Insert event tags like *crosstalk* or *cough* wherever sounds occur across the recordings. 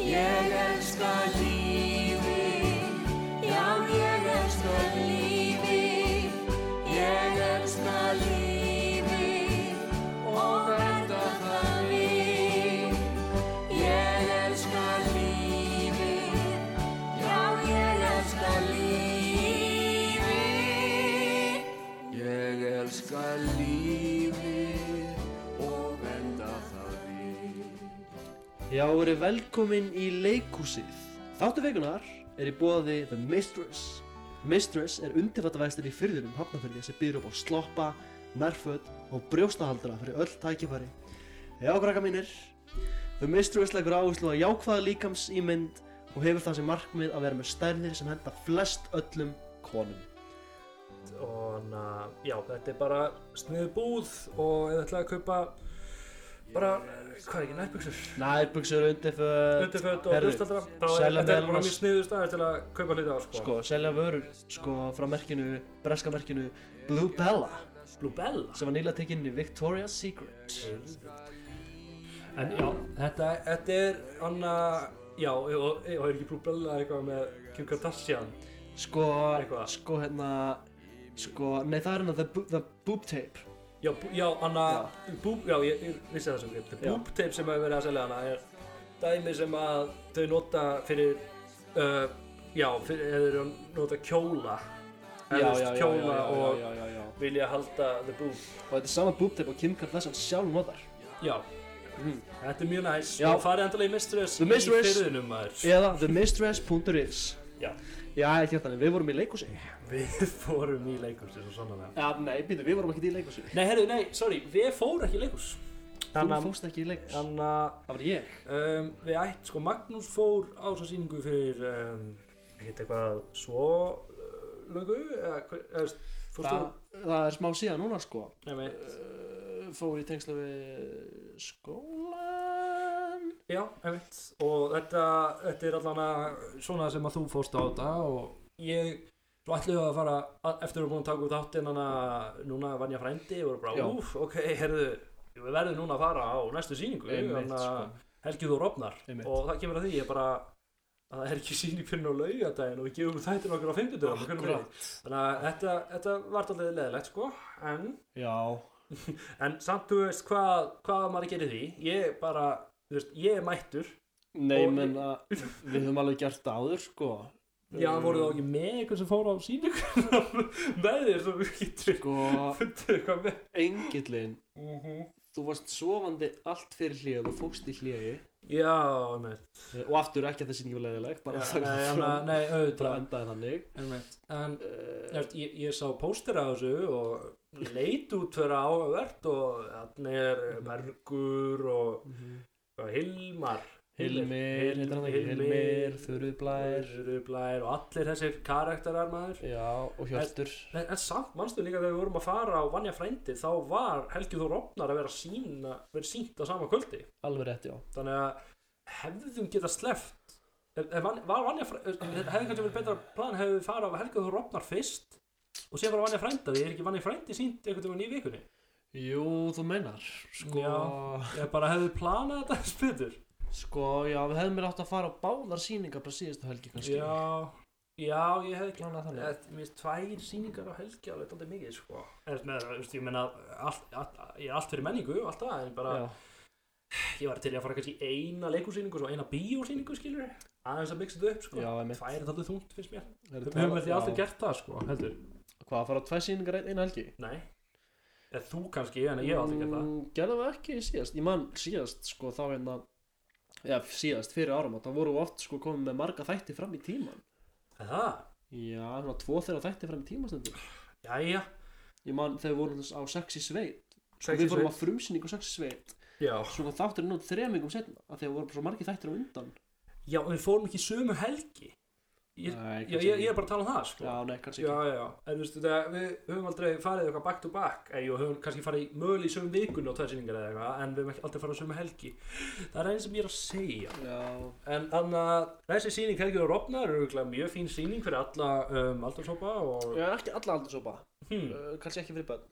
Ég elska lífið, já ég elska lífið, ég elska lífið og verða það við. Ég elska lífið, já ég elska lífið, ég elska lífið og verða það við. Já, verið velkomin í leikhúsið. Þáttu veikunar er í bóði The Mistress. Mistress er undirfattavæðstir í fyrðunum hafnafyrði sem býður upp á sloppa, nærföt og brjóstahaldra fyrir öll tækifæri. Já, krakka mínir, The Mistress leggur áherslu á jákvæða líkams í mynd og hefur það sem markmið að vera með stærðir sem henda flest öllum konum. og na, já, þetta er bara sniðu búð og ég ætlaði að kaupa bara, hvað er ekki, nærbuksur Nærbuxur, undirföt, undirföld og herðu, brustaldra Þá selja er- þetta er bara meðalannars- mjög sniðu staðar til að kaupa hluti á sko. sko, selja vörur, sko, frá merkinu, breska merkinu Blue Bella. Blue Bella sem var nýlega tekinn í Victoria's Secret en já, þetta, þetta er anna, já, og, og, og er ekki Blue Bella eitthvað með Kim Kardashian sko, Eitthvað. sko hérna sko, nei það er hérna the, Bo- the Boob Tape já, bú- já, anna, búb, já, ég, ég vissi það sem þetta er Já. búb tape sem hefur verið að selja hana er dæmi sem að þau nota fyrir uh, já, fyrir, eða þau eru að nota kjóla Eða þú veist, kjóla og já, já, já. vilja halda the boob og þetta er sama Boob Tape og Kim Kardashian sjálf notar já, Mhm. þetta er mjög næs Já. og farið endalega í Mistress The Mistress. í fyrðunum maður eða themistress.is Já. já, ekki hérna, við vorum í leikhúsi við fórum í leikhús svo sannlega já, nei, býtu, við vorum ekki í leikhúsi nei, herru, nei, sorry, við fórum ekki í leikhús þú þannig fórst ekki í leikhús að um, það var ég við ætt, sko, Magnús fór á svo síningu fyrir um, ekkert eitthvað svo uh, löngu eða, hver- eða veist, fórstu það, það er smá síðan núna sko nei, nei, Uh, fór í tengslu við skólan já, einmitt og þetta, þetta er allan að svona sem að þú fórst á þetta og ég svo ætlum við að fara að- eftir við erum búin að taka út þáttinn hana núna vann ég frændi og Já. bara úf, ok, herðu við verðum núna að fara á næstu síningu Einmitt, hana sko. Helgi þú rofnar Einmitt. og það kemur að því ég bara að það er ekki síning fyrir nú laugadaginn og við gefum þættir okkur á fimmtudöðum þannig að þetta, þetta var alltaf leðilegt sko en já, En samt, þú veist, hvað, hvað á maður að gera í því? Ég bara, þú veist, ég er mættur. Nei, Og- menn að við höfum alveg gert það áður, sko. Já, voru þá ekki með eitthvað sem fór á síningu *laughs* með þér svo við getur Sko, fundið eitthvað með. engillin, Mm -hmm. þú varst sofandi allt fyrir hléð og fókst í hléi Já, einmitt. og aftur ekki að það sýningi var leiðileg, bara Já, að taka nei, það hana- fram, Nei, bara auðvitað. endaði þannig. Einmitt. En, þú Uh, veist, ég, ég sá póster af þessu og leit út fyrir áhugavert og þannig er Mergur og og Hilmar. Hilmir, heitir hann ekki, Hilmir, Þurðblær, Hilmir og allir þessir karakterar maður. já, og Hjörtur. En, en samt, manstu líka þegar við vorum að fara á Vanja frændi þá var Helgi Þór Opnar að vera sína, vera sínt á sama kvöldi Alveg rétt, já. þannig að hefðum geta sleft ef, ef, Van- var Vanja frændi hefði kannski verið betra plan hefði við fara á Helgi Þór Opnar fyrst og sér var Vanja frænda því er ekki Vanja frændi sínt einhvern veginn í vikunni Jú, þú meinar, sko, Já. ég bara hefði planað þetta aðeins betur sko, já, við hefðum mér átt að fara á báðar sýningar bara síðustu helgi, kannski. já, já, ég hefði ekki Klánað þannig. Þetta- Mér finnst tvær síningar á helgi alveg aldrei mikið sko. Er, með, veist, ég meina allt, allt, ég er allt fyrir menningu alltaf, en bara Já. Ég var til í að fara kannski í eina leikúsýningu og svo eina bíósýningu skilur aðeins að mixa þetta upp sko Já, einmitt. Tvær er alltaf þungt finnst mér Þeir Við tala- höfum því já. alltaf gert það sko heldur Hvað, að fara á tvær sýningar ein- eina helgi? Nei Eða þú kannski en ég hef alltaf gert það Mm, Gerðum við ekki síðast Ég man síðast sko þá hérna Já, síðast fyrir árum þá vorum við oft sko komið með marga þætti fram í tíman Er það? Já, svona tvo þeirra þætti fram í tíman stendur Jæja Ég man þegar við vorum þess á Sexy Sveit Sko Sexy við vorum Sveit. á frumsýningu Sexy Sveit Já Svona þátturinn út þremingum setna að Þegar vorum svo margi þættir á undan Já, en við fórum ekki í sömu helgi Ég, Nei, já, ég, ég er bara að tala um það sko Já, nei, kannski Já, ekki já, en þú veistu þetta, við við höfum aldrei farið eitthvað back to back eða jú, höfum kannski farið í- mögulega í sömu vikunni á tvær sýningar eða eitthvað, en við höfum ekki aldrei farið á sömu helgi Það er einn sem ég er að segja Já, En þannig að þessi síning Helgi og Rofnar er auðvitað mjög fín síning fyrir alla um, aldurshópa og já ekki alla aldursópa hmm, uh, Kannski ekki fyrir bönn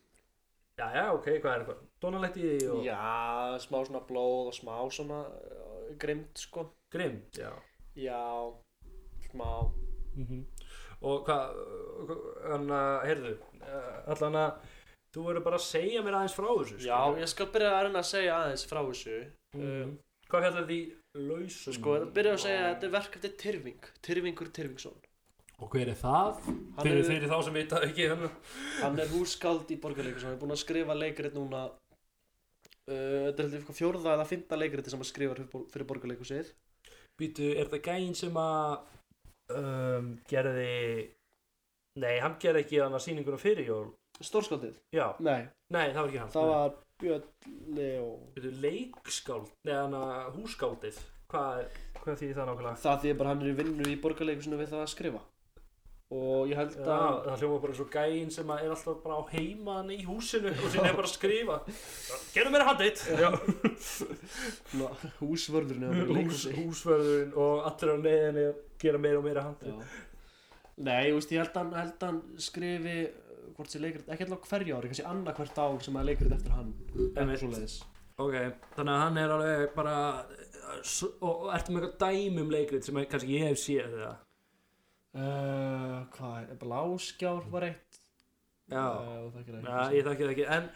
já, já, ok, hvað er eitthvað? Donaletti og... Já, smá svona blóð og smá svona uh, grimmt sko Grimm, já já, smá Mhm. Og hvað, uh, hann að, heyrðu, uh, allan að Þú verður bara að segja mér aðeins frá þessu sko. já, ég skal byrja að reyna að segja aðeins frá þessu Mhm. Hvað fjallar því lausum? sko, ég byrja að segja að þetta er verk eftir Tyrfing Tyrfingur Tyrfingsson Og hver er það? hann Fyrir, er, fyrir þá sem vita ekki hérna. hann hann er húskáld í borgarleikus hann er búinn að skrifa leikrit núna uh, þetta er heldur eitthvað fjórða eða fymta leikriti sem hann skrifar fyrir bor- fyrir borgarleikusið Býtu, er það gæinn sem að um, gerði Nei, hann gerði ekki hann að sýninguna fyrir jól stórskáldið, Já, nei, nei, það var ekki hann það var Björn Leó Býtu, leikskáld, nei hann að hússkáldið Hvað, hvað þýðir það nákvæmlega? það því bara hann er í vinnu í borgarleikusinu við það að skrifa og ég held Já, að það hljóma bara svo gæinn sem að er alltaf bara á heima hann í húsinu og sinni er bara að skrifa Gerðu mér handið Já, svona, *laughs* húsvörðurinn eða bara í Hús, leikhúsi húsverðurinn og allir á neðinni gera meira og meira handið Nei, þú veist, ég held hann, held hann skrifi uh, hvort sé leikrit, ekki alltaf hverju ári, kannski annað hvert ár sem að leikrit eftir hann Einmitt. svoleiðis. Ok, þannig að hann er alveg bara s- og og ertu með eitthvað dæmi um leikrit sem er, kannski ég hef séð eða Uh, hvað er, bláskjár var eitt Já, uh, það ekki já ég þekki það ekki en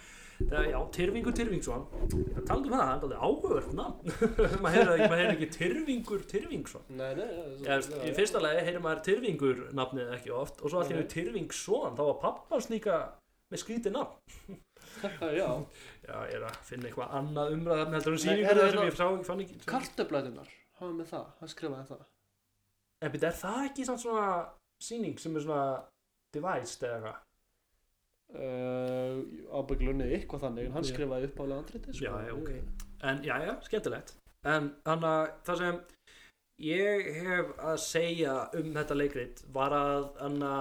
það, já, Tyrfingur Tyrfingsson talandi um það, hann er alveg áhugvörð nafn *laughs* maður heyrði ekki, maður heyrði ekki Tyrfingur Tyrfingsson Nei, nei, það er svo- Já, veist, í fyrsta lagi heyrir maður Tyrfingur nafnið ekki oft og svo allir við Tyrfingsson þá var pappans líka með skrítið nafn já, já. Já, ég er að finna eitthvað annað umræð þarna heldur Nei, en sýningur heyrðu, þar sem hérna- ég sá ekki fann ekki Kartöflæðunar, hafa með það, hann skrifaði það. En byrja, er það ekki samt svona sýning sem er svona devised eða eitthvað? Uh, Ábygglunni eitthvað þannig, en hann Já. skrifaði uppálega andriti, sko. Já, já, ok. En já, já, skemmtilegt. En þannig að það sem ég hef að segja um þetta leikrit var að anna,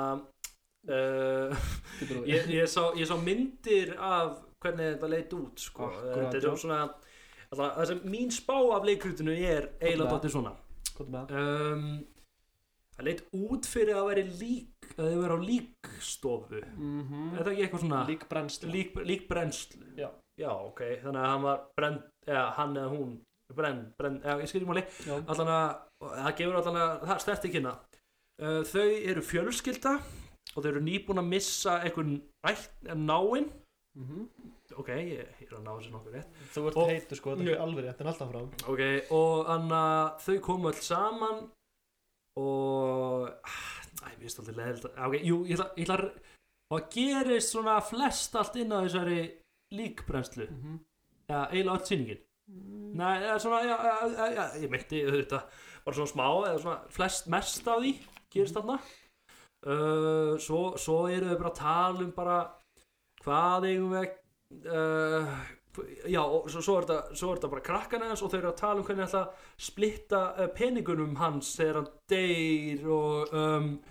uh, Getur þú- ég, ég, sá, ég sá myndir af hvernig þetta leit út sko. Akkúrat, þetta já. er svona alltaf, það sem mín spá af leikritinu er eiginlega dottir svona Hvað er með það? um, það leit út fyrir að veri lík að þið verið á líkstofu Mhm. er það ekki eitthvað svona Lík brennslu. lík, lík brennslu Já. ok, þannig að hann var brenn, eða hann eða hún brenn, brenn, eða ég skilji máli Já. allan að, það gefur allan að það stert ekki hérna uh, þau eru fjölskylda og þau eru nýbúin að missa einhvern ætt náinn Mhm. ok, ég, ég er að ná þessu nokkuð rétt Þú ert Og- heitur, sko, þetta er ekki alveg rétt, en alltaf fram. ok, og þannig að þau komu öll saman og ah, æ, mér finnst alltaf leðild ok, jú, ég ætla, ég ætla að og það gerist svona flest allt inn á þessari líkbrennslu Mhm. Já, eiginlega öll sýningin Mm. Nei, eða svona, já, já, já, já, ég myndi auðvitað bara svona smá eða svona flest mest af því gerist Mm. þarna uh, svo, svo eru við bara að tala um bara hvað eigum við að- uh, já, og svo, svo, er þetta, svo er þetta bara krakkan hans og þau eru að tala um hvernig ætla að splitta uh, peningunum hans þegar hann deyr og um,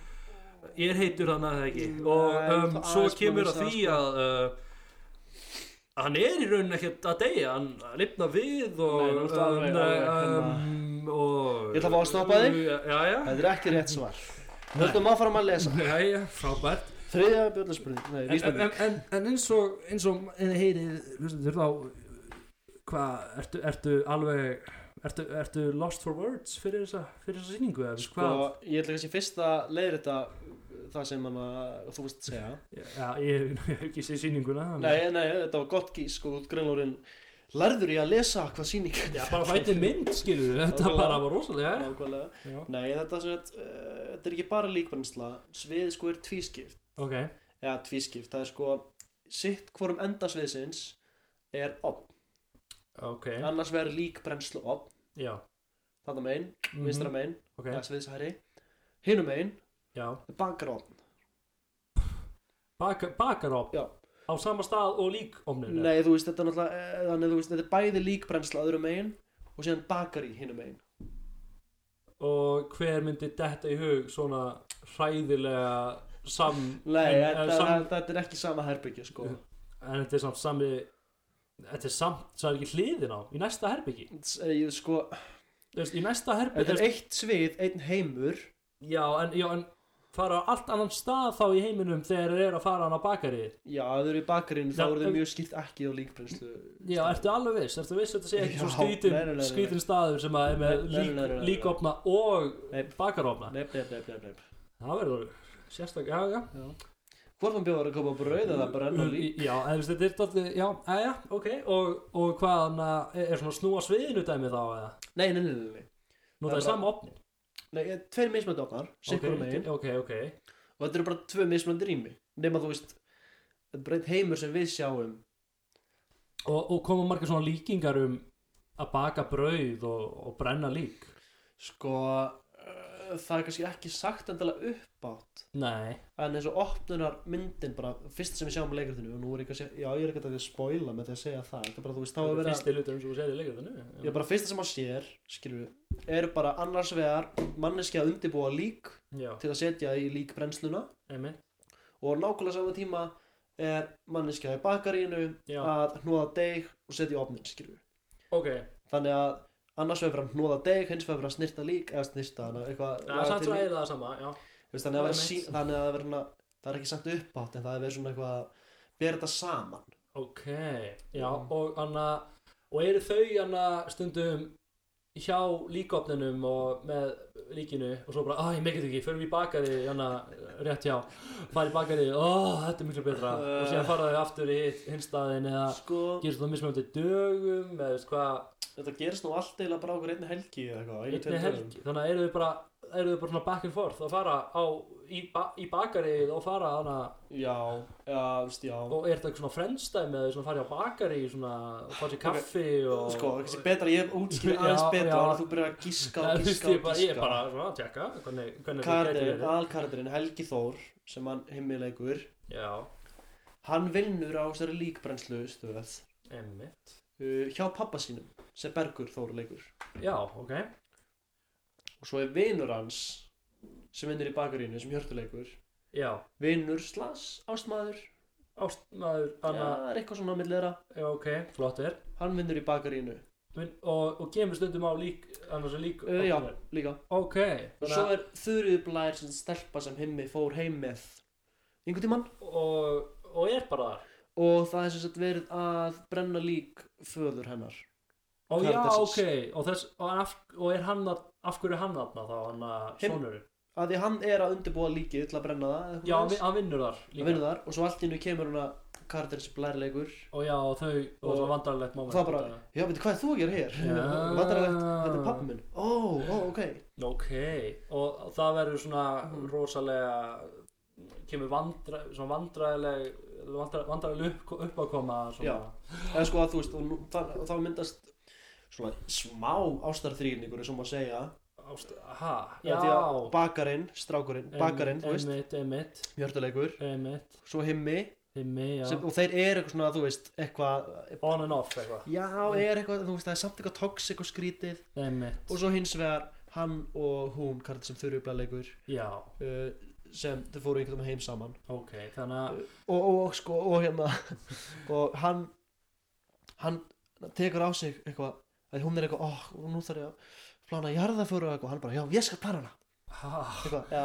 ég er heitur hann að það ekki Nei, og um, það svo aðeins kemur má að lýsa, því sko. að uh, að hann er í rauninni ekkert að deyja hann lifna við og um, Nei, nú ertu alveg- alveg hérna. og Ég ætla að fá að stoppa þig. já, já, Það er ekki rétt svar. Höldum áfram að lesa. já, já, frábært Þriðja björnarspurning, nei, en, vísbending. en, en, en eins og eins og eða heyrið, hlustendur þá hvað, ertu, ertu alveg ertu, ertu lost for words fyrir þessa, fyrir þessa sýningu eða Sko, ég ætla kannski fyrst að leiðir þetta það sem hann að þú veist segja. já, ég *laughs* ég hef ekki séð sýninguna þannig- Nei, nei, þetta var gott gís, sko, grunnlórin lærður ég að lesa hvað sýning já, bara fæti mynd, skilur þetta Nákvæmlega. bara var rosalega Nákvæmlega. já. Nei, þetta, sem, sagt, uh, þetta er ekki bara líkbrennsla, sviðið sko er tvískipt. ok, Já, tvískipt, það er sko, sitt hvorum enda sviðsins er opn. ok Annars verður líkbrennslu opn, já, þetta megin, Mhm. vinstra megin, ok, okay. sviðshæri. Hinu megin, já bakar opn. Baka, bakaropp Já. á sama stað og líkomninu Nei, þú veist, þetta er náttúrulega, eh, þannig, þú veist, þetta er bæði líkbrennsla öðrum megin og síðan bakar í hinum megin. og hver myndi detta í hug svona hræðilega sam Nei, en, þetta, en, sam, þetta er ekki sama herbyggja, sko. Mm. en þetta er samt sami þetta er samt, það er ekki hliðin á í næsta herbyggi, S- eh, ég- sko þú veist, í næsta þetta herbyggi er eitt svið, einn heimur, já, en, já, en fara á allt annan stað þá í heiminum þegar þeir eru að fara hann á bakari Já, ef þau eru í bakarinn þá Já, eru um- þau mjög skipt ekki á líkbrennslu Já, ertu alveg viss? Ertu viss að þetta sé ekki Já, svona nei, nei, nei, skrítin, nei. skrítin staður sem að er með Nei, nei, nei, nei, lík, nei. líkopna og Nei. bakarofna? Nefn, nefn, nefn, nefn, nefn Það verður sérstak, já, já. Hvort hann bjóður að koma brauð eða brenna Um, Í- lík Já, eða veist, þetta er dálítið, já, að, já, ok. Og, og hvað hann að, er svona að snúa sviðinu dæmi þá eða? Nei, nei, nei, nei, nei, Nú Það það er er sama opnin. nei eh, Tveir mismönd opnar, sikkur okay, megin Ok, ok. Og þetta eru bara tvö mismönd rými Nefn þú veist, þetta er bara einn heimur sem við sjáum Og, og koma margir svona líkingar um að baka brauð og, og brenna lík? Sko, uh, það er kannski ekki sagt endilega uppátt Nei. En eins og opnunar myndin bara Fyrst sem við sjáum á leikritinu Og nú er ég kannski, já, ég er ekki að taka að spoila með því að segja það Þetta er bara, þú veist, þá Það er er verið að fyrsti hlutur eins og þú segir í leikritinu. Já, bara fyrsta sem hann sér, skilur við, er bara annars vegar manneskja að undirbúa lík Já, til að setja í líkbrennsluna einmitt. og á nákvæmlega saman tíma er manneskja í bakaríinu Já. að hnóða deig og setja í ofnin, skilur við. Ok. Þannig að annars vegar er að hnóða deig, hins vegar er að snirta lík eða snirta hana, eitthvað. Það laga er samt til svo lík. eiginlega það sama, já. Þú veist, Þannig að, það er vera sí, mitt. þannig að það verður svona, það er ekki sagt uppátt en það er verið svona eitthvað að bera þetta saman. Ok, já, Mm. og anna, og eru þau anna stundum hjá líkopninum og með líkinu og svo bara, að ég meikið ekki, förum í bakari anna, rétt hjá, fara í bakari ó, þetta er miklu betra og síðan fara þau aftur í hitt- hinn staðin eða Sko, gerist það mismöndi dögum eða veist hvað, þetta gerist nú allt eiginlega bara okkur einni helgi eða eitthvað. einu, tveim einni dögum. helgi þannig að eru þau bara, eru þau bara svona back and forth og fara á, í, ba í bakari og fara anna, Já, já, þú veist, já. og er þetta eitthvað svona frendstæmi eða svona fara hjá bakari svona, og fara sér kaffi og Sko, kannski betra, ég útskýri aðeins Já, betra já. áður en þú byrjar að gíska Nei, og *laughs* þú veist, gíska ég, og bara, ég er bara gíska svona að tjekka hvernig, hvernig það gæti Karakterinn, verið aðalkarakterinn Helgi Þór sem hann himmilegur Já, hann vinnur á þessari líkbrennslu stöð, emmitt uh, hjá pappa sínum sem Bergur Þór leikur Já, ok og svo er vinur hans sem vinnur í bakarínu sem hjörtuleikur Já, vinnur slags ástmaður ástmaður Anna... Anna, já, er eitthvað svona á milli þeirra já, ok, flottir hann vinnur í bakarínu Mun- og, og kemur stundum á lík annars er lík uh, já, líka Ok, og svo er Þurriður Blær sem stelpa sem himmi fór heim með einhvern tímann og, og er bara þar og það er sem sagt verið að brenna lík föður hennar Ó já, Karaktersins. ok, og, þess, og, af, og er hann að, af hverju er hann aðna þá, hann að Hinn- sonurinn að því hann er að undirbúa líkið til að brenna það Já, hann vin- hann vinnur þar hann vinnur þar og svo allt í hennu kemur hún að karakterin sem blærleikur Og já, og þau, og, Og- og svo vandarlegt og moment það bara, já, veitir hvað er þú að gera hér Já. vantarlegt, þetta er pappi minn ó, ó, ok, Ok, og það verður svona Mm. rosalega kemur vandra, svona vandræðileg vandra, vandræðileg upp, uppákoma svona. eða sko að þú veist og nú, það, þá myndast svona smá ástarþrýningur sem maður segja Ást, ha, Af já því að bakarinn, strákurinn, bakarinn, þú veist, Emitt, emitt, hjörtuleikur emitt svo himmi, Himmi, já sem, og þeir eru eitthvað svona, þú veist, eitthvað On and off eitthvað Já, er eitthvað, þú veist, það er samt eitthvað toxic og skrítið Emitt, og svo hins vegar hann og hún, karl sem þurrubla leikur já, uh, sem þau fóru einhvern veginn heim saman ok Þannig að, og, og, og sko, og hérna *laughs* og hann hann tekur á sig eitthvað að hún er eitthvað, ó, oh, nú þarf ég að plana jarðaföru og eitthvað, hann bara, já, ég skal plana hana ha, eitthvað, já,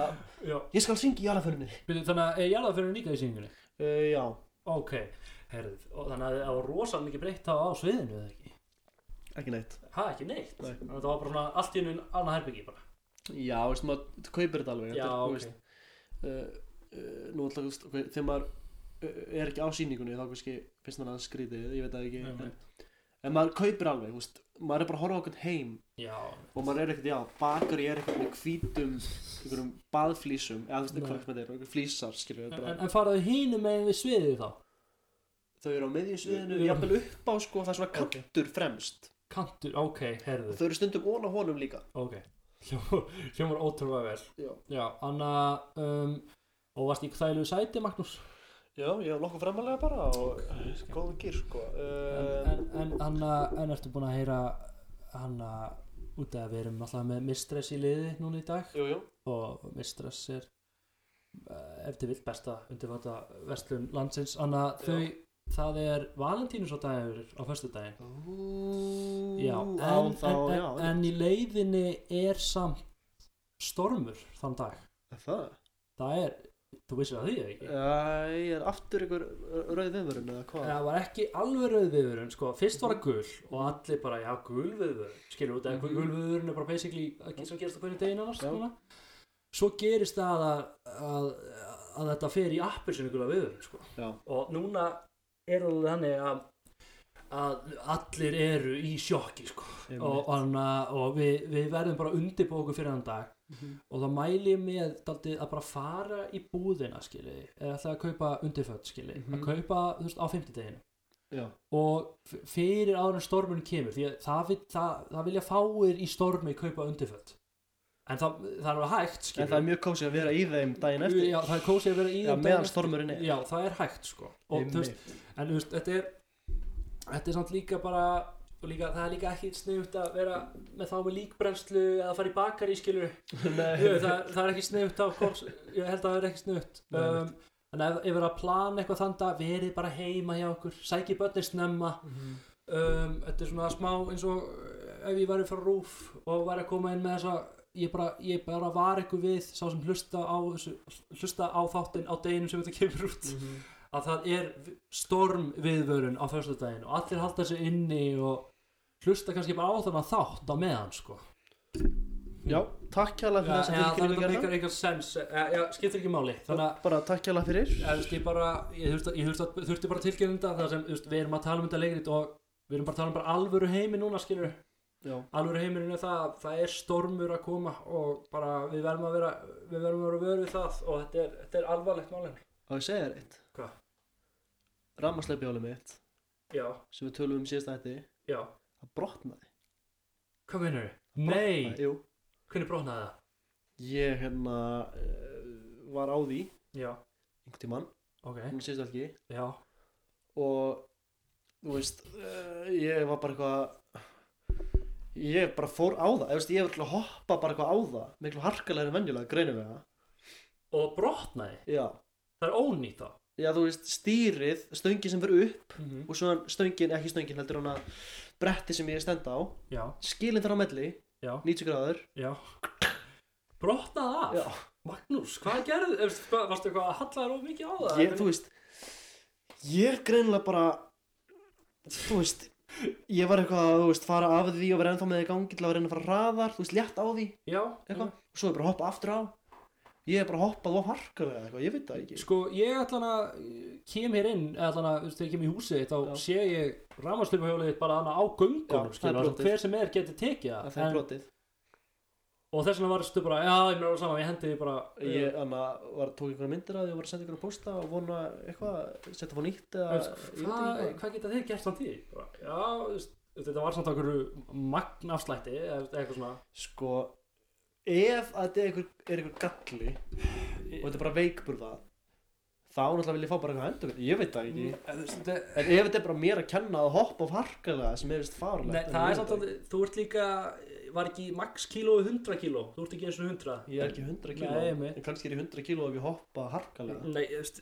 já ég skal syngja í jarðaförunni uh, Byrju, Þannig að, ég er alveg fyrir nýka í sýningunni já, Ok, herrið, og þannig að það var rosalega mikið breytt þá á sviðinu eða ekki ekki neitt Ha, ekki neitt Nei. Þannig að það var bara svona allt í einu annað herbyggi bara já, veist, maður kaupir þetta alveg Já, þetta, er, þú veist, ok uh, uh, nú alltaf veist, okay, þegar maður uh, er ekki á síningunni þá kannski finnst maður að skrítið ég veit það ekki Nei, nei. en, en maður kaupir alveg þú veist, maður er bara að horfa okkur heim Já, og maður er ekkert, já, bakar ég er ekkert með hvítum einhverjum baðflísum eða þú veist, Nei. hvað sem þetta er, einhverjum flísar skilur við en, bara, en faraðu hínu megin við sviðið þá þau eru á miðjusviðinu Já. jafnvel upp á sko, það er svona Ok. kantur fremst Kantur, ok, herðu og þau eru stundum ón á honum líka Ok, Hljómar- hljómar ótrúlega vel já, Já, anna um, Og varst í þælu sæti, Magnús já ég hef nokkuð fremalega bara og okay. góðum gýr sko En, en, en, anna, en ertu búin að heyra Hanna út af að við erum alltaf með mistress í liði núna í dag jú, jú, og mistress er eh, ef þið vill besta undirvata verslun landsins Anna, Já. þau, það er Valentínus á dagur á föstudaginn Já, en, á, en, þá, en, já, en í leiðinni er samt stormur þann dag Er það? það er, þú vissir að því eða ekki Já, ég er aftur einhver rauð viðvörun eða hvað það var ekki alveg rauð viðvörun sko, fyrst var það gul og allir bara, já, gul viðvörun skilur út, eða gul viðvörun er bara basically að- sem gerist á hvernig deginn annars Mhm. Já. núna. svo gerist það að, að, að þetta fer í appur sinni gula viðvörun sko. Já, og núna er það alveg þannig að að allir eru í sjokki sko. Einmitt. og, og, og við, við verðum bara undirbúið okkur fyrir þann dag Mhm. og þá mæli ég með daldið, að bara fara í búðina skili, eða ætla að kaupa undirföt skili, Mhm. að kaupa þú veist, á fimmtudeginu já, og f- fyrir áður en stormun kemur því að það, vil, það, það vilja fáir í stormi kaupa undirföt en það, það er alveg hægt en skili. það er mjög kósi að vera í þeim daginn eftir já, það er kósið að vera í Já, þeim meðan daginn stormurinn eftir. er já, það er hægt sko. og þú veist, Einmitt. en þú veist, þetta er þetta er samt líka bara og líka, það er líka ekki sniðugt að vera með þá með líkbrennslu eða fara í bakar í skilur *laughs* Nei, það, það er ekki sniðugt á hvors, ég held að það er ekki sniðugt Nei, um, en ef, ef við erum að plana eitthvað þann dag verið bara heima hjá okkur, sæki börnir snemma um, þetta er svona smá eins og uh, ef ég væri frá rúf og væri að koma inn með þessa ég bara, ég bara var eitthvað við sá sem hlusta á, þessu- hlusta á þáttinn á deginum sem þetta kemur út Mhm. að það er storm viðvörun á föstudaginn og allir halda sig inni og hlusta kannski bara á þannig þátt á meðan sko já, takk hjálega fyrir Já, þess að já, þannig að það tilkynningu meikar eitthvað sens Eh, já, já, skiptir ekki máli þannig að Bara takk hjálega fyrir ég, veist, ég, bara, ég, þurfti, ég þurfti, að- þurfti bara tilkynninga þar sem þú veist, við erum að tala um þetta leikrit og við erum bara að tala um bara alvöru heimi núna skilur Já, alvöru heimurinn er það að það er stormur að koma og bara við verðum að vera við verðum að vera vör við það og þetta er, þetta er alvarlegt málinn og ég segja þér eitt Hvað? Rammasleipjólið mitt já, sem við tölum um síðast þetta já, það brotnaði hvað meinar Nei, Brotnaði, Jú, hvernig brotnaði það? ég hérna eh, var á því Já, einhvern tímann, ok, hún síðast ekki já og þú veist uh, ég var bara eitthvað ég bara fór á það ég, veist, ég var til að hoppa bara eitthvað á það miklu harkalegri en venjulega, greinilega og brotnaði, já, það er ónýtt þá já þú veist, stýrið stöngin sem fyrir upp mm -hmm. og svo stöngin, ekki stöngin heldur hann að bretti sem ég stenda á já, skilin þar á melli, já, 90 gráður já brotnaði af, já, Magnús, hvað gerðu ef- hvað- varstu eitthvað að halla þér of mikið á það ég, þú veist ég greinilega bara þú veist ég var eitthvað að, þú veist, fara af því og vera ennþá með því í gangi til að reyna að fara hraðar, þú veist, létt á því já, eitthvað og svo er bara að hoppa aftur á ég er bara að hoppa of harkar eða eitthvað, ég veit það ekki Sko, ég ætlan að eh, kem hér inn, eða ætlan að, þú veist, þegar ég kem í húsið þitt, þá Já. sé ég rafmagnslöpahjólið þitt bara hana á göngunum, Já, það er skilur, brotið. hver sem er getur tekið að það. það er En, brotið og þess vegna varstu bara, já, ég mér alveg saman, ég hendi því bara, eh, ég anna, var, tók einhverja myndir að því og var að senda einhverja pósta og vona eitthvað, setja það á nýtt eða, veist, ég veit hvað ekki hvað hvað geta þeir gert samt í? Bara, já, þú veist, þetta var samt okkur magnafslætti, eða eitthvað svona, sko, ef að þetta er einhver, er einhver galli og þetta er bara veikburða þá náttúrulega vil ég fá bara eitthvað endur ég veit það ekki Eh, þú veist, þetta en ef þetta er bara mér að kenna að hoppa og harka það sem er vist Nei, farlegt en ég það er veit samt það að þú ert líka, var ekki max kílóið 100 kíló, þú ert ekki eins og 100 ekki. ég er ekki 100 kíló Nei, einmitt. en kannski er ég 100 kíló ef ég hoppa harkalega Nei, þú veist,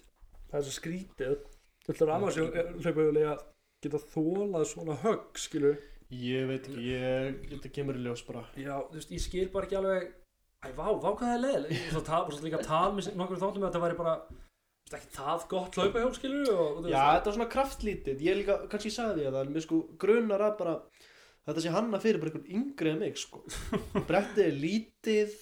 það er svo skrítið Þetta rafmagnslöpahjólið að geta þólað svona högg, skilu Ég veit ekki, ég, þetta kemur í ljós bara Já, þú veist, ég skil bara ekki alveg Æ, vá, vá, hvað það er leðileg Svo tal, og svo líka tal með nokkur þáttum að þetta væri bara þú veist, ekki það gott hlaupahjól, skilu og, og, þú Já, þetta var svona kraftlítið, ég líka, kannski ég sagði því að það Mér sko grunar að bara, þetta sé hanna fyrir bara einhvern yngri en mig sko *laughs* Brettið er lítið,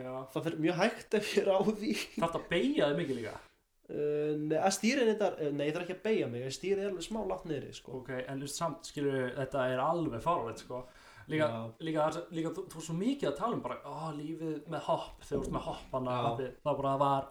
já það fer mjög hægt ef ég er á því Þarf að beigja þig mikið líka Uh, Nei, að stýrin þetta, eh, nei það er ekki að beigja mig, ég stýrið er alveg smá látt niðri sko Ok, en þú veist, samt, skilu, þetta er alveg fáralegt, sko Líka, Já. líka, það sem- líka þú, þú er svo mikið að tala um bara, ó, lífið með hopp, þegar þú ert með hoppana Já. hoppið, þá bara var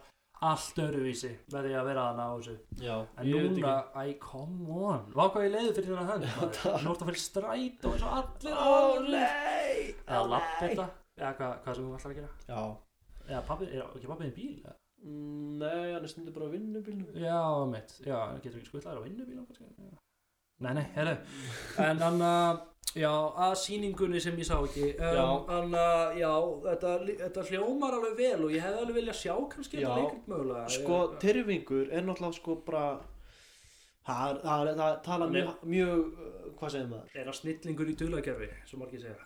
allt öruvísi með því að vera þarna á þessu Já, En núna, æ, come on Vá hvað ég leiði fyrir þennan *laughs* hönd maður. Nú ertu að fyrir stræt og eins og allir Ó aðrir. nei, Eða ó, lapp nei. þetta Eða hvað, hvað sem þú ætlar að gera Já, Eða pappi, er ekki pappi í bíl? eða? Mm, nei, hann er stundur bara að vinna bílnum Já, mitt, já, hann getur ekki skvillað á vinnubíl og kannski. Já. Nei, nei, herru En hann að Já, að sýningunni sem ég sá ekki um, Já. En að, já, þetta, þetta hljómar alveg vel og ég hefði alveg viljað sjá kannski Já. þetta leikrit mögulega Sko, Ég- tyrfingur er náttúrulega sko bara Það, er- það, er- það tala Hann er- mjög, mjög, uh, hvað segir maður? Er það snillingur í dulagerfi, svo margir segja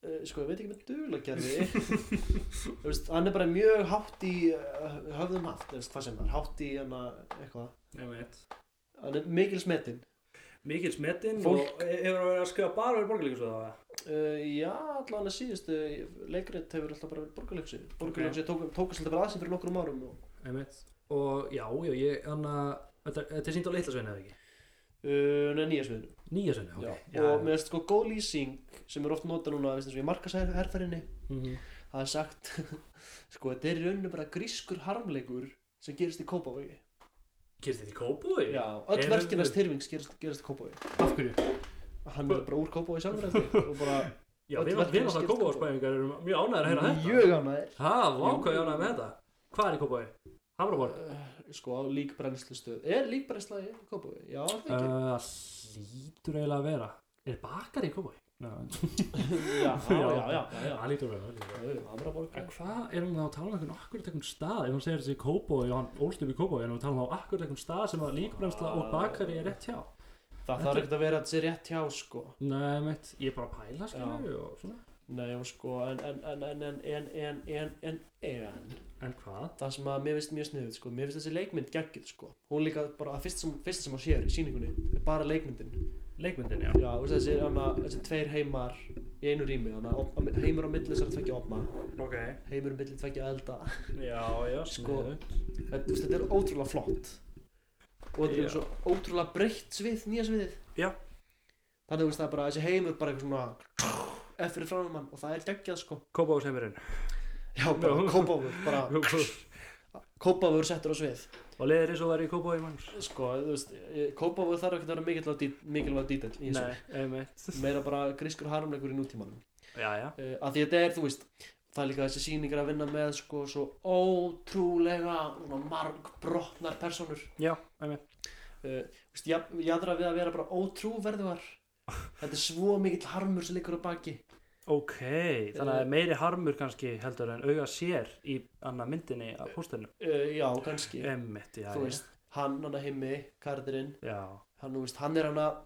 eh, sko, ég veit ekki með dulagerfi þú veist, hann er bara mjög hátt í uh, höfðum haft, þú veist, hvað sem er hátt í hann eitthvað, Ég veit hann er mikil smetinn Mikil smetinn Fólk- og e- hefur það verið að skrifa bara verið borgarleikus við það uh, já, allan að síðustu leikrit hefur alltaf bara verið borgarleiksu borgarleiksu okay. tókast tók alltaf bara aðsinn fyrir nokkrum árum og, Ég veit Og já, já, ég, hann að Þetta þetta er sínt á leitlasveinu eða ekki uh, neða nýja sviðinu Nýja sveinu, Já, ok Já, og mér finnst sko góð lýsing sem er oft nota núna, veist eins og ég markasherfarinni Mhm. það er sagt *laughs* sko, þetta er í rauninu bara grískur harmleikur sem gerist í Kópavogi Gerist þetta í Kópúi? já, öll Er- verkinast hirfings gerist, gerist í Kópavogi Af hverju? hann er bara úr Kópavogi sjálfur eftir og bara *laughs* Já, Öll við verkin erum það skipta Kópúarspæðingar erum mjög ánægðir að heyra þetta mjög ánægir Ha, vá, hvað ég ánægði með þetta Hvað er í Kópúi? Hamraborg? sko, á líkbrennslustöð er líkbrennsla í Kópavogi? já, það er ekki Uh, lítur eiginlega að vera Er bakar í Kópúi? Já, Eh, *laughs* já, já, já, já, já, já. það lítur að vera Hamraborg En hvað erum við þá að tala um einhvern akkurat einhvern stað ef hún segir þessi Kópói og hann ólst upp í Kópói erum við að tala um þá akkurat einhvern stað sem að líkbrennsla og bakari er rétt hjá það þarf ekkert að vera að sé rétt hjá sko Nei, meitt, ég er bara að pæla skilju og svona nei, og sko, en, en, en, en, en, en, en, en, en, en En hvað? það sem að mér finnst mjög sniðið sko. mér finnst þessi leikmynd geggið sko. hún líka bara að fyrst sem, fyrst sem að sér í síningunni er bara leikmyndin Leikmyndin, já Já, veist, þessi, hana, þessi tveir heimar í einu rými hana, op, heimur á milli þessar tveggja opna Ok, heimur á milli tveggja elda já, já Sko- þetta, veist, þetta er ótrúlega flott og þetta Já. er svo ótrúlega breytt svið, nýja sviðið Já. þannig að veist, það er bara þessi heimur bara eitthvað svona eftir fráum mann og það er geggjað sko Kópói semurinn *laughs* já, bara Já. kópavur, bara Og kópavur settur á svið leiðir eins og væri í Kópói manns sko, þú veist, kópavur þarf ekki að vera mikilvæg dít- mikilvæg dítill í þessu Nei, einmitt meira bara grískur harmleikur í nútímanum *laughs* Já, já uh, að því þetta er, þú veist það er líka þessi sýningar að vinna með sko svo ótrúlega svona, margbrotnar personur Já, einmitt uh, veist, jaf- jafnra við að vera bara ótrúverðuar þetta er svo mikill harmur sem liggur á baki Ok, þannig Eh, að meiri harmur kannski heldur en auga sér í annað myndinni að póstinu uh, já, kannski, Einmitt, Eh, já, þú já veist hann, hann að himmi, kardirinn Já, hann, þú veist, hann er hann að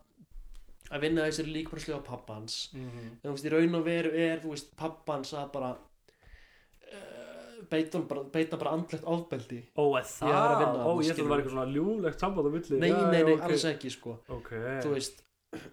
að vinna þessir líkbröðslu á pappans mhm en þú veist, í raun og veru er, þú veist, pappans að bara uh, beita, honum bara, beita bara andlegt ofbeldi Ó, er það? Ég er að vinna Ó, þarna, ég ætla að það skilurðu. var eitthvað svona ljúlegt samband á milli nei, Já, nei, já, nei, ok. alls ekki sko Ok, þú veist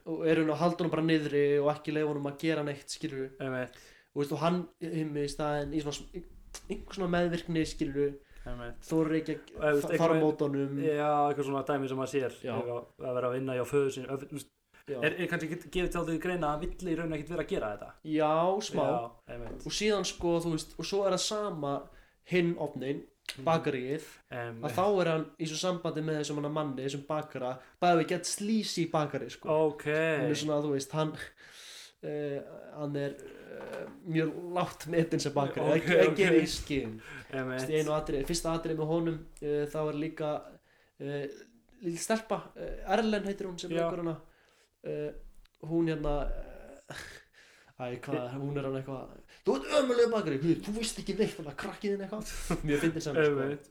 og er hún að halda hún bara niðri og ekki leiða honum að gera neitt skilur einmitt, og, veist, og hann himmi í staðinn í svona sm- einhvers svona meðvirkni skilur einmitt þóra ekki að Og, veist, þa- eitthvað- fara á mót honum Já, eitthvað svona dæmi sem maður sér Mm. Já. eitthvað að vera að vinna hjá föðu sín er, já. er, er kannski ekki gefið til að þau greina að villi í raun ekkert vera að gera þetta já, smá Já, einmitt, og síðan sko, þú veist, og svo er það sama hinn opnin, Mhm. bakaríið að einmitt. þá er hann í svo sambandi með þessum hann manni, þessum bakara bæði við gett slísi bakari sko Ok hann er svona, þú veist, hann uh, hann er uh, mjög látt metin sem bakari Ok, ekki, ok. ekki okay. í skinn Þú veist, í einmitt einu atrið, fyrsta atrið með honum uh, þá er líka uh, líl stelpa, uh, Erlen heitir hún sem Já. leikur hana uh, hún hérna uh, æ, hvað, hún er hann eitthvað þú ert ömulega bakari, Guð, þú veist ekki neitt þannig að krakkið þinn *laughs* eitthvað, mjög fyndið sem sko. Einmitt,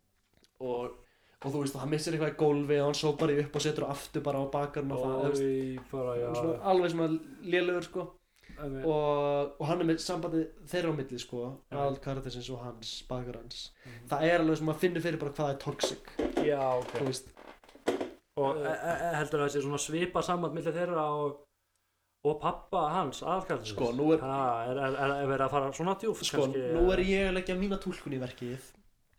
og, og þú veist, hann missir eitthvað í gólfi og hann sópar því upp og setur aftur bara á bakarinn og það, þú veist, ói, bara já svona, alveg svona lélugur sko einmitt. og, og hann er með sambandi þeirra á milli sko, Já. aðalkarðisins og hans, bakarans Mhm. það er alveg sem maður finnir fyrir bara hvað það er toxic Já, ok þú veist, Og e- e- e- heldur það sé svona svipa samband milli þeirra og og pappa hans, aðkallins Sko, nú er- er, er, er, er verið að fara svona djúft sko, nú er ég að leggja mína tólkun í verkið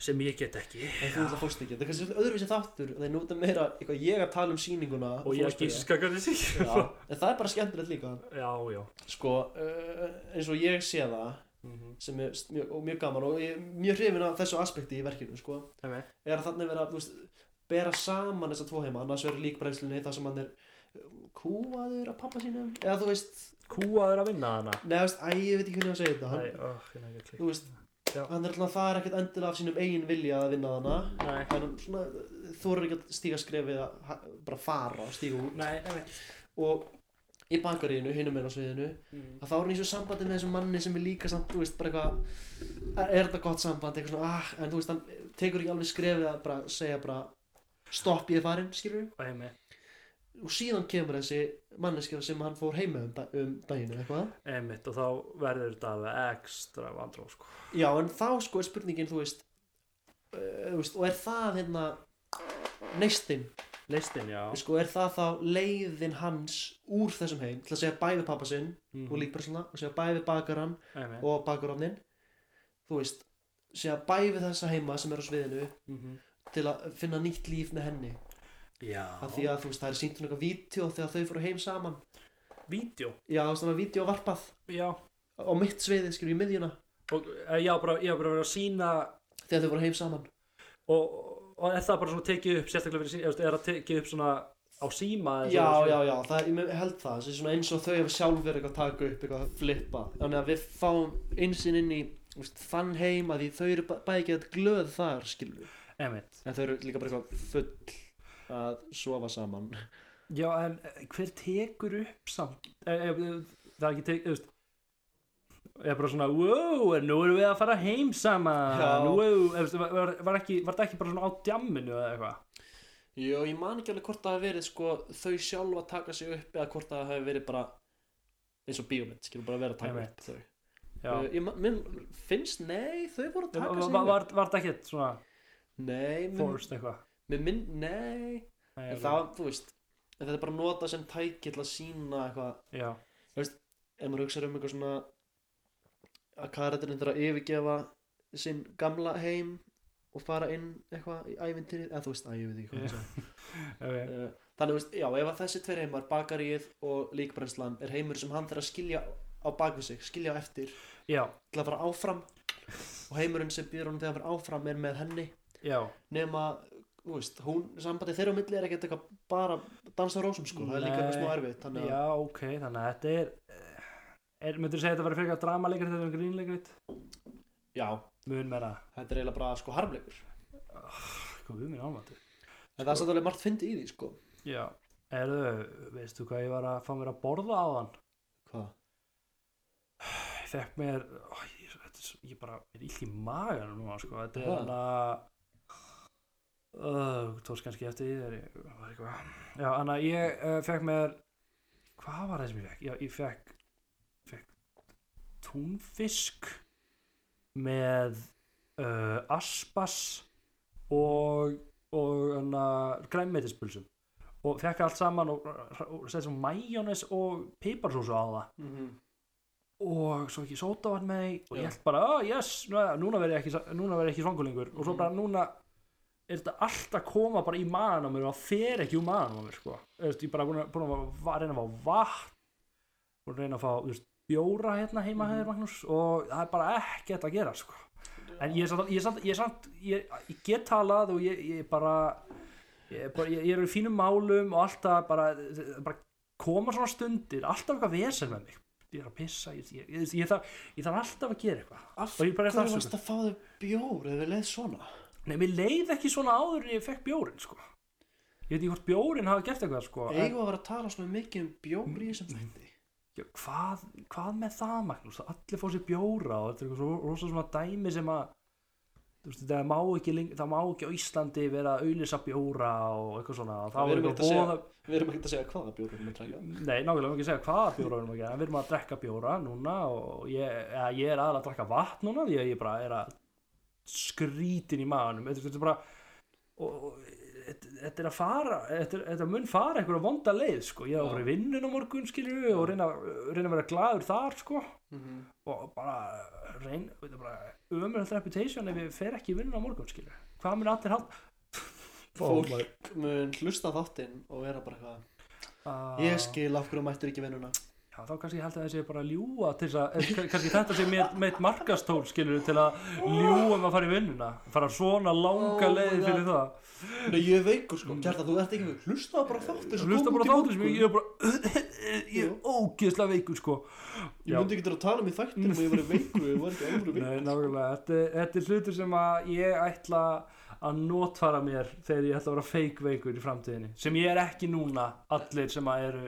sem ég get ekki en þú ætla fórst ekki, þetta er kannski svolítið öðruvísi þáttur það er nú þetta meira, eitthvað ég að tala um sýninguna og ég gíska hvernig sig Já, en það er bara skemmtilegt líka *laughs* já, já sko, uh, eins og ég sé það Mhm. sem er st- mjög, og mjög gaman og ég er mjög hrifin af þessu aspekti í verkinu sko, Einmitt. er að þannig vera, þú veist bera saman þessa tvo heima, annars verður líkbrennslunni þar sem hann er uh, kúaður af pappa sínum, eða þú veist kúaður að vinna hana Nei, þú veist, æ, ég veit ekki hvernig að segja þetta hann, Nei, oh, ég nægir klikk þú veist, Já. hann er alltaf það er ekkert endilega af sínum eigin vilja að vinna þarna Nei, en hann svona, þú eru ekki að stíga skrefið að ha- bara fara og stíga út nei, einmitt og í bakaríinu, hinum meina á sviðinu Mm. að þá er hann í svo sambandi með þessum manni sem er líka samt, þú veist, bara eitthvað "Ah, er þetta gott samband, eitthvað svona, ah, en þú veist hann tekur ekki alveg skrefið að bara segja bara stopp ég er farin, skilur einmitt og síðan kemur þessi manneskja sem hann fór heima um, da um daginn eða eitthvað einmitt og þá verður þetta alveg ekstra vandró sko. já en þá sko er spurningin þú veist, uh, þú veist og er það hérna neistinn listin, já sko er það þá leiðin hans úr þessum heim til að segja bæði pappa sinn mm. og líkpersona og segja bæði bakaran einmitt og bakarofnin þú veist segja bæði þessa heima sem er á sviðinu Mhm. til að finna nýtt líf með henni af því já, að þú veist það er sínt um eitthvað vídeo þegar þau fóru heim saman vídeo já þú veist það var vídeo varpað já, á mitt sviði skilur í miðjuna og eh, já, bara, já, bara verið að sína þegar þau voru heim saman og, og er það bara svona tekið upp sérstaklega fyrir síma, eða þú veist, er það tekið upp svona á síma eða já, svona- já, já, það er, ég me- held það það er svona eins og þau hafa sjálfur eitthvað að taka upp eitthvað að flippa, þannig að við fáum einsinn inn í þú veist, þann heim að því þau eru bæ- bæði ekki eitthvað glöð þar skilur, við. einmitt en þau eru líka bara eitthvað full að sofa saman já, en eh, hver tekur upp samt e, e, það er ekki tekið, þú veist ég er bara svona, wow, en nú erum við að fara heim saman Já. wow, eða, þú veist, var, var, var, ekki, var það ekki bara svona á djamminu eða eitthvað Jó, ég man ekki alveg hvort það hafi verið sko, þau sjálf að taka sig upp eða hvort það hafi verið bara eins og bíómynd, skilur bara að vera að taka Einmitt. upp þau já, Uh, ég, ma- mér finnst, nei, þau voru að taka var, sig var, upp var, var það ekki svona Nei, mér, forced eitthvað mér minn, nei Nei, En alveg. það, þú veist, en þetta er bara nota sem tæki til að sína eitthvað já, ef maður hugsaður um eitthvað svona að karakterinn þarf að yfirgefa sinn gamla heim og fara inn eitthvað í ævintýrið eða þú veist, að ég veit ekki hvað Já. það yeah. okay. uh, þannig, þú veist, já, ef að þessi tveir heimar bakaríið og líkbrennslan er heimur sem hann þarf að skilja á bakvið sig skilja á eftir já, til að fara áfram og heimurinn sem býður hún til að fara áfram er með henni já, nema, þú veist, hún, sambandi þeirra á milli er ekkert eitthvað bara dansa á rósum sko, það er líka eitthvað Nei. smá erfitt þannig að já, ok þannig að þetta er, eh, er myndur segja að þetta verið frekar dramalegrit þetta er grínlegrit, Já, mun meira þetta er eiginlega bara sko harmleikur hvað við minn álmandi en það er satt alveg margt fyndi í því sko já, erðu, veistu hvað ég var að fá mér að borða á þann Hvað? ég fekk mér ó, ég, þetta er, svo- ég bara, ég er illt í magan núna sko, þetta er Ha. hann að Uh, tókst kannski eftir því þegar ég var eitthvað já, þannig að ég uh, fekk mér hvað var það sem ég fekk? já, ég fekk, fekk túnfisk með uh, aspas og og uh, grænmetispulsum og fekk allt saman og, og, og setið svo majónes og piparsósu á það Mm og svo ekki sótavann með því og Já. ég held bara, oh yes, nú- núna verð ég ekki, núna verð ég ekki svangur lengur og svo bara núna er þetta allt að koma bara í maðan á mér og það fer ekki úr maðan á mér sko. Þú veist, ég bara búin að, búin að, va- reyna að fá vatn búin að reyna að fá þú veist, bjóra hérna heima mm Mhm. Magnús og það er bara ekkert að gera sko. en ég er samt, ég, er samt, ég, er samt ég, ég get talað og ég, ég bara ég, er bara, ég, ég er í fínum málum og alltaf bara, bara koma svona stundir alltaf eitthvað vesen með mig ég er að pissa, ég, ég, ég, ég, þarf, ég þarf alltaf að gera eitthvað Af Og ég bara er hverju það varst að fá þau bjór eða leið svona? Nei, mér leið ekki svona áður en ég fekk bjórin, sko. Ég veit ekki hvort bjórin hafa gert eitthvað, sko. En, Eigum við að vera að tala svona mikið um bjór í þessum þætti? já, hvað, hvað með það, Magnús? Það allir fá sér bjóra og þetta er eitthvað svo rosa svona dæmi sem að þú veist, það má ekki lengi, það má ekki á Íslandi vera að auðlýsa bjóra og eitthvað svona. og Við Það var erum eitthvað ekkert að voða... Við erum ekki að segja hvaða bjór við erum að um. trækja Nei, nákvæmlega, við erum ekki að segja hvaða bjóra við erum að gera, en við erum að drekka bjóra núna og ég, ja, ég er aðalega að drekka vatn núna því að ég bara er að skrítin í maðanum, þetta þetta er bara, og, og þetta- þetta er að fara, þetta, er- þetta mun fara einhverja vonda leið, sko, ég er að Já. fara í vinnun á morgun, skilju, og reyna, reyna að vera glaður þar, sko, mm -hmm. og bara reyna, þetta er bara ömurlegt reputation ef ég fer ekki í vinnun á morgun, skilju, hvað mun allir halda? Fólk mun hlusta á þáttinn og vera bara eitthvað Ah. Ég skil af hverju mættur ekki vinnuna Já, þá kannski ég held að þessi bara að ljúa til þess að, eh, kann- kannski þetta sé mér meitt markastól, skilur, til að ljúa um að fara í vinnuna, fara svona langa Oh my leið fyrir það. Nei, ég er veikur sko, kjarta, þú ert ekki veikur Hlusta á bara þáttir sem Hlusta kom bara sko. út í þáttur sem morgun. ég ég er bara, *laughs* ég er ógeðslega veikur, sko. Ég myndi ekki til að tala um í þættinum og ég var veikur, ég var ekki alveg veikur Nei, nákvæmlega, þetta, er- þetta er hlutur sem að ég ætla að notfara mér þegar ég ætla að vera fake veikur í framtíðinni, sem ég er ekki núna, allir sem að eru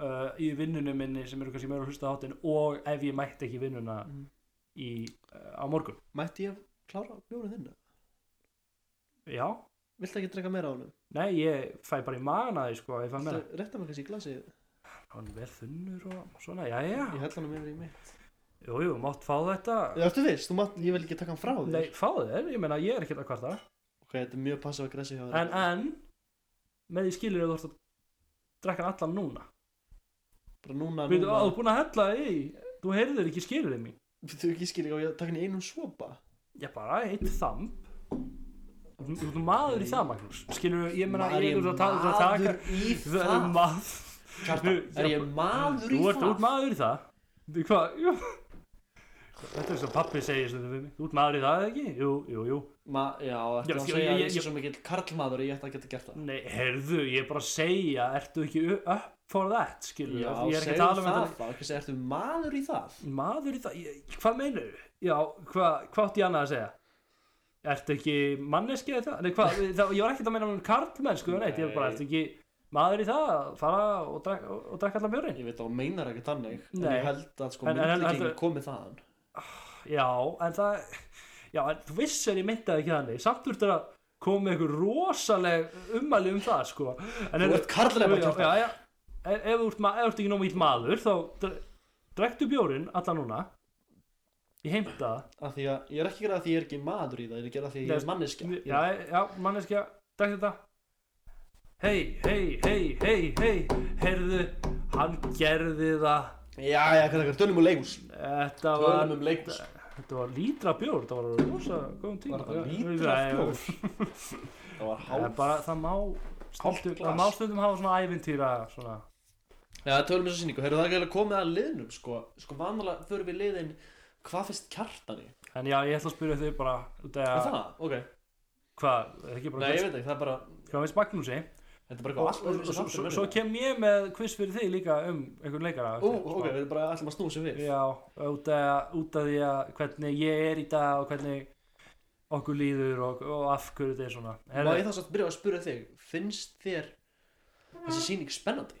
uh, í vinnunum minni, sem eru kannski meira að hlusta á þáttinn og ef ég mætti ekki í vinnuna Mhm. í, uh, á morgun. Mætti ég klára bjórið þinn? Já, Viltu ekki drekka meira á honum? Nei, ég fæ bara í magan að því sko að ég fæ meira. Viltu rétta mér kannski í glasið? Hann er vel þunnur og svona, já, já. Ég held hann um yfir í mitt Jú, jú, mátt fá þetta. Það ertu viss, þú mátt, ég vil ekki taka hann frá þér Nei, fá þér, ég meina ég er ekkert að kvarta. Ok, þetta er mjög passið að græsi hjá þér En, en, með því skilur þú ert að drekka hann allan núna. Bara núna, Við þú núna áður búin að hella í, þú heyrðir ekki skilur í mig. Þú ekki skilja og ég taka hann í einum svopa Já, bara eitt þamp. Þú þú ert maður í það, Magnús. Skilur þú, ég meina, Maður ég er er að taka, þú ert að taka, í þú ert það maður. Kjartan, Þú- er ég maður í Þú ert það? út maður í það Þú hvað, jú Þetta er svo pappi segir sem við mig Þú ert maður í það eða ekki? Jú, jú, jú Ma, já, ertu Já, að skil- segja að ég- ég sé ég- svo mikill karlmaður og ég ætti að geta gert það Nei, heyrðu, ég er bara að segja Ertu ekki u- up for that, skilur Já, Ég er ekki segðu að tala um það þetta þá, ekki segja, ertu maður í það? Maður í það, ég, hvað meinar Já, hvað, hvað átti ég annað að segja? Ertu ekki manneski eða það? Nei, hvað, það, ég var ekkert að meina um karlmenn, sko Nei, ég er bara, Nei. ertu ekki maður í það að Fara og drekka og drekka allan björinn Ég veit að hún meinar ekki þannig, en Nei. ég held að sko En- en- en- myndlíkingin heldur- komið þaðan. Já, en það Já, en þú vissir ég myndaði ekki þannig Samt þú ert að koma með einhver rosaleg ummæli um það, sko en, Þú ert karlæma já, kjartan. já, já, ef, ef, þú ert, ma- ef þú ert ekki nóg mýtt maður Þá dre- drekktu bjórin alla núna Ég heimta Af því að ég er ekki að gera það því ég er ekki maður í það, ég er að gera það því ég Nei, er manneskja. það Ég- Já, e- já, manneskja, drekk þetta Hei, hei, hei, hei, hei Heyrðu, hann gerði það Já, já, hvað það er, tölum um leikus. Þetta var Tölum um leikus. Þetta var lítra bjór, þetta var rosa góðum tíma Var það lítra Nei, bjór? Það var Það er hálf. bara, það má stundum, glas. það má stundum hafa svona ævintýra svona. Já, tölum um þessu sýningu. Heyrðu, það er ekki að koma að liðnum, sko. Sko, vanalega förum við liðin, hvað finnst kjartani? En já, ég ætla að spyrja þau bara út af Er að, það? Ok. hvað, er ekki bara Nei, ég veit ekki, það er bara, hvað veist Magnúsi þetta er bara og, eitthvað allt og, öðru og, sem svo, þáttur svo verður. kem ég með quiz fyrir þig líka um einhvern leikara Ó, ok, við erum bara ætlum að snúa sér við. Já, út af, út af því að hvernig ég er í dag og hvernig okkur líður og, og af hverju þetta er svona Má ég Herðu, þá samt byrja að spyrja þig, finnst þér þessi sýning spennandi?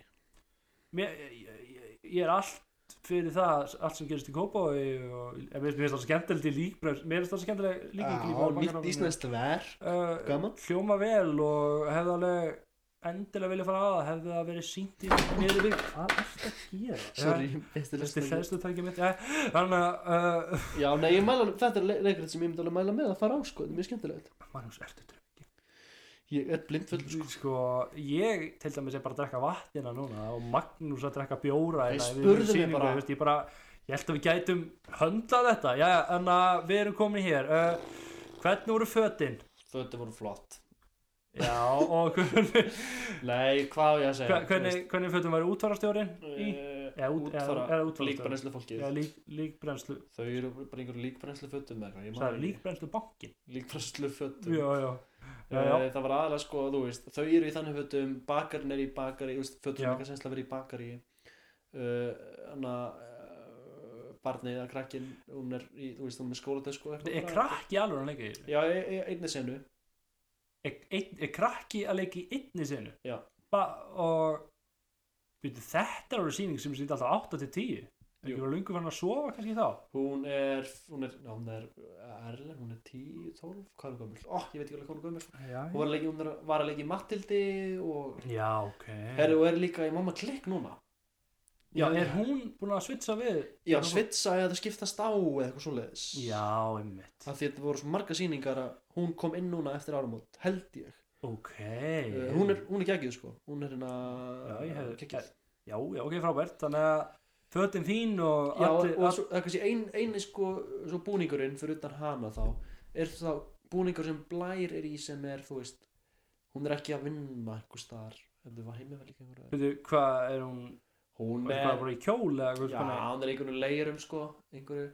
mér, ég, ég, ég er allt fyrir það, allt sem gerist í Kópavogi og en mér mér finnst það skemmtilegt í líkbröð mér finnst það skemmtilegt líka í nýtt íslenskt verk. uh, Gaman. hljóma vel og hefði alveg endilega vilja fara aða hefði það verið sínt í niður í bygg hvað er þetta að gera? Sorry, besti Þetta er lesning. hlæðslu tækja mitt Jæja, þannig að uh, Já, nei, ég mæla, þetta er le- leikrit sem ég myndi alveg mæla með að fara á, sko, þetta er mjög skemmtilegt. Magnús, ertu drukkinn? Ég er blindfullur, sko. sko, ég til dæmis er bara að drekka vatnina núna og Magnús að drekka bjóra Þeir hérna, við- spurðu við mig sýningu, bara. veist, ég bara ég held að við gætum höndla þetta já, en að við erum komin hér uh, hvernig voru fötin? Fötu voru flott. já, og *laughs* *laughs* hvernig Nei, hvað á ég að segja? eh, hvernig, hvernig fötin var útvarastjórin? í? eða út- eða- Útfara, eða útfara- líkbrennslu fólkið. Já, lík, líkbrennslu Þau eru bara einhverju líkbrennslu fötum eða eitthvað. ég man Það er ekki. líkbrennslu bankin Líkbrennslu fötum. Já, já, já, já. Eh, Það var aðalega sko, þú veist, þau eru í þannig fötum, bakarinn er í bakari, þú veist, fötum Já. er ekki að sensla að vera í bakari, þannig uh, að barnið eða krakkinn, hún er í, þú veist, hún er með skólatösku og eitthvað. Er bara. krakki alveg að leika í þessu? Já, í- í einni senu. Er, einn- er krakki að leika í einni sinu? Já. ba Og Býtu, þetta er alveg sýning sem sýndi alltaf 8 til 10 Jú. Ég var lungu fann að sofa kannski þá Hún er, hún er, já, hún er erlen, hún er 10, 12, hvað er hún gömul? Ó, ég veit ekki alveg hvað hún er gömul. sko. Já, Hún var að leiki, hún er, var að leiki í Matildi og, já ok herri, og er líka í Mamma Klikk núna. Já, er hún búin að svitsa við? Já, svitsa eða skiptast á eða eitthvað svoleiðis. Já, einmitt Af því þetta voru svo marga sýningar að hún kom inn núna eftir áramót, held ég. Ok Uh, hún er, hún er geggjuð sko, hún er hérna Já, ég hefði- geggjuð. Já, já, ok, frábært Þannig að fötin þín og Já, allir- og svo, það er kannski ein, eini sko, svo búningurinn fyrir utan hana þá, er þá búningur sem blær er í sem er, þú veist, hún er ekki að vinna einhvers staðar, ef þau var heimja vel ekki einhverja. Býtu, hvað er hún? Hún Hvað er er, bara í kjól eða hvað já, hún er í einhverju leirum sko, einhverju,